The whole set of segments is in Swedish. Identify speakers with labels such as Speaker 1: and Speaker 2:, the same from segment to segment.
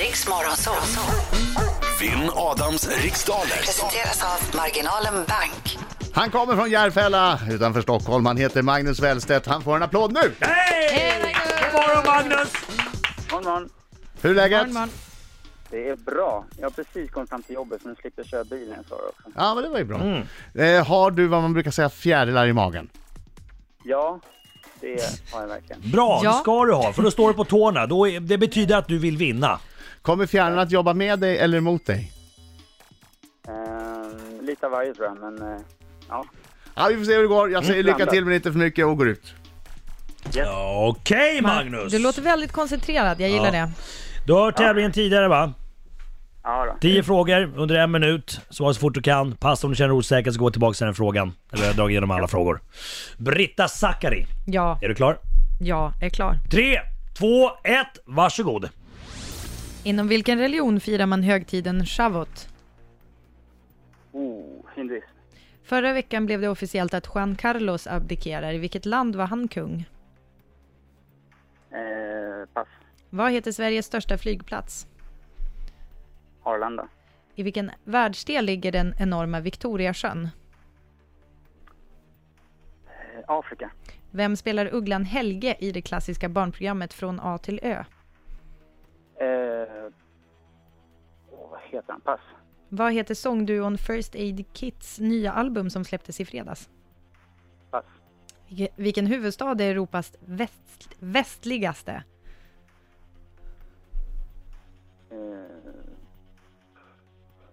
Speaker 1: Riks Morgonzoo.
Speaker 2: Vinn Adams riksdaler.
Speaker 1: Presenteras av Marginalen Bank.
Speaker 3: Han kommer från Järfälla utanför Stockholm. Han heter Magnus Wellstedt. Han får en applåd nu!
Speaker 4: Hej! God morgon Magnus!
Speaker 5: God morgon.
Speaker 3: Hur är läget?
Speaker 5: Det är bra. Jag har precis kommit fram till jobbet så nu slipper jag köra bilen jag sa också.
Speaker 3: Ja, men det var ju bra. Eh, har du vad man brukar säga fjärilar i magen?
Speaker 5: Ja, det har jag verkligen.
Speaker 4: Bra,
Speaker 6: Ja.
Speaker 4: det ska du ha för då står du på tårna. Då är, det betyder att du vill vinna.
Speaker 3: Kommer fjärilarna att jobba med dig eller mot dig?
Speaker 5: Ehm, lite av varje tror jag, men eh, ja.
Speaker 3: Ja, vi får se hur det går. Jag säger lycka
Speaker 5: blandat.
Speaker 3: till men inte för mycket och går ut.
Speaker 4: Okej Magnus!
Speaker 6: Du låter väldigt koncentrerad, jag
Speaker 4: Ja.
Speaker 6: gillar det.
Speaker 4: Du har hört tävlingen tidigare va?
Speaker 5: Ja då.
Speaker 4: 10 frågor under en minut. Svara så fort du kan. Passa om du känner dig osäker så gå tillbaka till den frågan. Eller jag har dragit igenom alla frågor. Britta Zackari,
Speaker 6: Ja,
Speaker 4: är du klar?
Speaker 6: ja, är klar.
Speaker 4: 3, 2, 1, varsågod!
Speaker 6: Inom vilken religion firar man högtiden Shavuot?
Speaker 5: Oh, hinduism.
Speaker 6: Förra veckan blev det officiellt att Juan Carlos abdikerar. I vilket land var han kung?
Speaker 5: Eh, pass.
Speaker 6: Vad heter Sveriges största flygplats?
Speaker 5: Arlanda.
Speaker 6: I vilken världsdel ligger den enorma Victoriasjön?
Speaker 5: Eh, Afrika.
Speaker 6: Vem spelar ugglan Helge i det klassiska barnprogrammet Från A till Ö?
Speaker 5: Eh, åh, vad heter han? Pass.
Speaker 6: Vad heter sångduon First Aid Kits nya album som släpptes i fredags?
Speaker 5: Pass.
Speaker 6: Vilke- Vilken huvudstad är Europas väst, västligaste?
Speaker 5: Eh,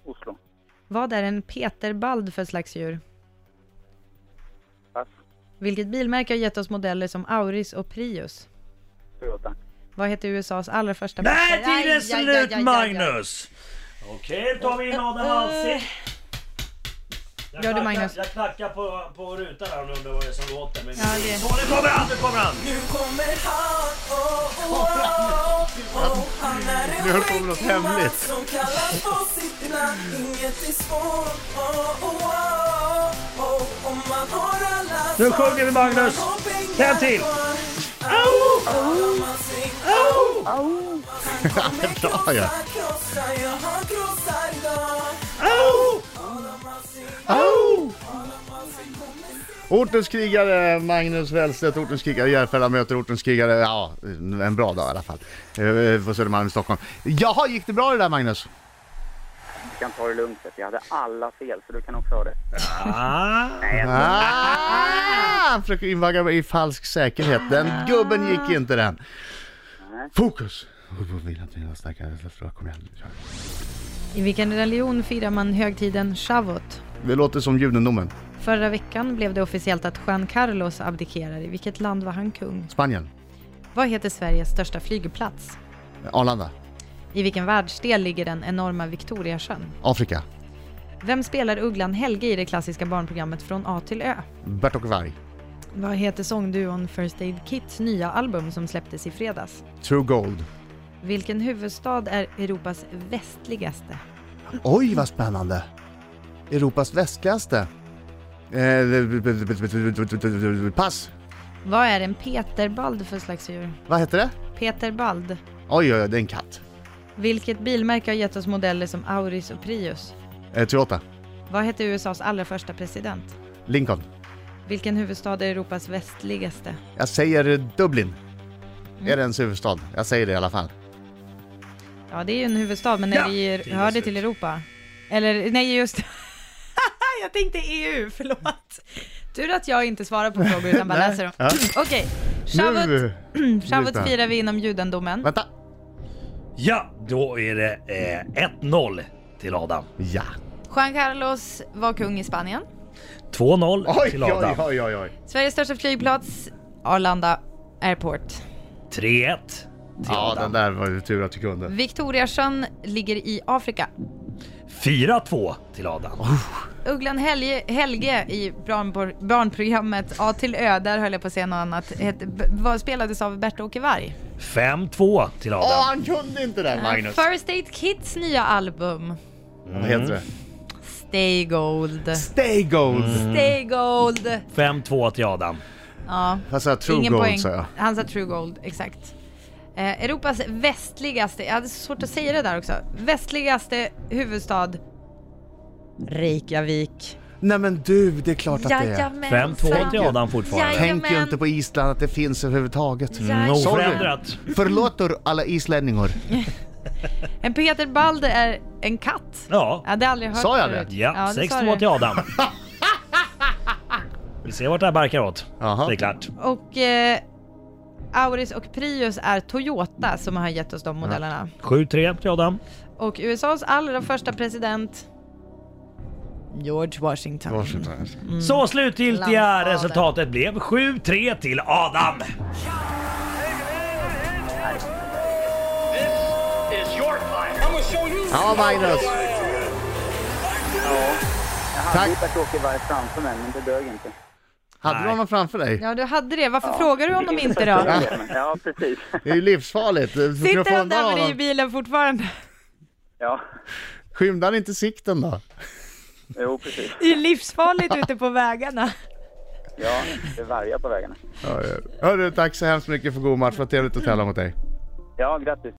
Speaker 5: Oslo.
Speaker 6: Vad är en peterbald för slags djur?
Speaker 5: Pass.
Speaker 6: Vilket bilmärke har gett oss modeller som Auris och Prius?
Speaker 5: Toyota.
Speaker 6: Vad heter USAs allra första
Speaker 4: Nej,
Speaker 6: Aj,
Speaker 4: tiden är
Speaker 6: aj, aj, aj, aj,
Speaker 4: slut
Speaker 6: aj.
Speaker 4: Magnus! Okej, då tar vi in Adam Alsing. Jag
Speaker 6: Gör du,
Speaker 4: knackar-
Speaker 6: Magnus?
Speaker 4: Jag knackar på, på rutan här och undrar vad det är som låter. Men...
Speaker 6: Ja, det-
Speaker 4: Så, nu kommer han! Nu kommer han!
Speaker 3: Nu höll på med något hemligt.
Speaker 4: Nu sjunger vi, Magnus. En till. Au! Au!
Speaker 3: Bra ja.
Speaker 4: Au!
Speaker 3: Au! Ortens krigare, Magnus Wellstedt, Ortens krigare, Järfälla möter Ortens krigare. Ja, en bra dag i alla fall. Eh, På Södermalm i Stockholm. Jaha, gick det bra det där Magnus?
Speaker 5: Du kan ta det lugnt. vet du. Jag hade alla fel, så du kan också ha det.
Speaker 4: Ah.
Speaker 3: Ah, han försöker invagga mig i falsk säkerhet. Den gubben gick inte den. Fokus! Vill att mina starkare släppte kom igen. nu kör vi.
Speaker 6: I vilken religion firar man högtiden Shavuot?
Speaker 3: Det låter som judendomen.
Speaker 6: Förra veckan blev det officiellt att Juan Carlos abdikerar. I vilket land var han kung?
Speaker 3: Spanien.
Speaker 6: Vad heter Sveriges största flygplats?
Speaker 3: Arlanda.
Speaker 6: I vilken världsdel ligger den enorma Victoriasjön?
Speaker 3: Afrika.
Speaker 6: Vem spelar ugglan Helge i det klassiska barnprogrammet Från A till Ö?
Speaker 3: Bert-Åke Varg.
Speaker 6: Vad heter sångduon First Aid Kits nya album som släpptes i fredags?
Speaker 3: True Gold.
Speaker 6: Vilken huvudstad är Europas västligaste?
Speaker 3: Oj, vad spännande! Europas västligaste. Eh, Pass!
Speaker 6: Vad är en peterbald för slags djur?
Speaker 3: Vad heter det?
Speaker 6: Peterbald.
Speaker 3: Oj, oj, oj, det är en katt.
Speaker 6: Vilket bilmärke har gett oss modeller som Auris och Prius?
Speaker 3: Eh, Toyota.
Speaker 6: Vad hette USAs allra första president?
Speaker 3: Lincoln.
Speaker 6: Vilken huvudstad är Europas västligaste?
Speaker 3: Jag säger Dublin. Är det ens huvudstad? Jag säger det i alla fall.
Speaker 6: Ja, det är ju en huvudstad, men när
Speaker 4: Ja,
Speaker 6: vi
Speaker 4: tiden
Speaker 6: hörde
Speaker 4: slut.
Speaker 6: till Europa. Eller, nej just... jag tänkte EU, förlåt. Tur att jag inte svarar på frågor utan bara
Speaker 3: Nej.
Speaker 6: läser dem.
Speaker 3: Ja.
Speaker 6: Okej,
Speaker 3: Nu!
Speaker 6: Shavuot Shavuot
Speaker 3: Sluta.
Speaker 6: firar vi inom judendomen.
Speaker 3: Vänta!
Speaker 4: Ja, då är det eh, 1-0 till Adam.
Speaker 3: Ja!
Speaker 6: Juan Carlos var kung i Spanien.
Speaker 4: 2-0
Speaker 3: Oj,
Speaker 4: till
Speaker 3: oj,
Speaker 4: Adam.
Speaker 3: oj, oj, oj!
Speaker 6: Sveriges största flygplats, Arlanda Airport.
Speaker 4: 3-1 till
Speaker 3: Ja, den
Speaker 4: Adam.
Speaker 3: där var ju tur att du kunde.
Speaker 6: Victoriasjön ligger i Afrika.
Speaker 4: 4-2 till Adam.
Speaker 6: Ugglan Helge, Helge i barn, barnprogrammet A till Ö, där höll jag på att säga något annat, het, b- vad spelades av Bert-Åke Varg.
Speaker 4: 5-2 till Adam.
Speaker 3: Åh, han kunde inte den Magnus!
Speaker 6: First Aid Kids nya album,
Speaker 3: Vad heter det? Mm.
Speaker 6: Stay Gold.
Speaker 3: Mm. Stay Gold!
Speaker 6: Stay Gold!
Speaker 4: 5-2 till Adam.
Speaker 6: Ja,
Speaker 3: Jag sa True
Speaker 6: ingen
Speaker 3: Gold
Speaker 6: poäng.
Speaker 3: sa jag.
Speaker 6: Han sa True Gold, exakt. Eh, Europas västligaste, jag hade så svårt att säga det där också, västligaste huvudstad Reykjavik.
Speaker 3: Nej men du, det är klart att det är.
Speaker 6: Jajamensan.
Speaker 4: 5-2 till Adam
Speaker 6: Ja,
Speaker 4: fortfarande.
Speaker 6: ja.
Speaker 3: Tänk ju
Speaker 6: men-
Speaker 3: inte på Island att det finns överhuvudtaget.
Speaker 6: Ja,
Speaker 4: Nog
Speaker 3: Sorry.
Speaker 4: förändrat.
Speaker 3: Förlåter alla islänningar.
Speaker 6: En Peter Balder är en katt.
Speaker 4: Ja.
Speaker 6: Jag hade aldrig hört
Speaker 3: Sa jag
Speaker 6: förut.
Speaker 3: det?
Speaker 4: Ja,
Speaker 6: det sa
Speaker 4: 6-2
Speaker 6: du.
Speaker 4: till Adam. Vi ser vart det här barkar åt.
Speaker 3: Jaha.
Speaker 4: Det är klart.
Speaker 6: Och eh, Auris och Prius är Toyota som har gett oss de modellerna.
Speaker 4: 7-3 till Adam.
Speaker 6: Och USAs allra första president George Washington.
Speaker 4: Så slutgiltiga
Speaker 6: Landsfader.
Speaker 4: resultatet blev 7-3 till Adam.
Speaker 3: Ja Magnus,
Speaker 5: Jag hade ju Bert-Åke Varg framför mig, men det dög inte.
Speaker 3: hade du
Speaker 4: Nej.
Speaker 3: honom framför dig?
Speaker 6: Ja, du hade det. Varför frågar du honom inte då?
Speaker 5: Ja, precis.
Speaker 3: Det är ju livsfarligt. Du får
Speaker 6: Sitter han
Speaker 3: frånvara
Speaker 6: där med dig i
Speaker 3: honom.
Speaker 6: bilen fortfarande?
Speaker 5: Ja,
Speaker 3: Skymde han inte sikten då?
Speaker 5: jo precis.
Speaker 6: Det är livsfarligt ute på vägarna.
Speaker 5: Ja, det är vargar på vägarna.
Speaker 3: Ja, ja. Hörru, tack så hemskt mycket för god match. Vad trevligt att tävla mot dig.
Speaker 5: Ja, grattis.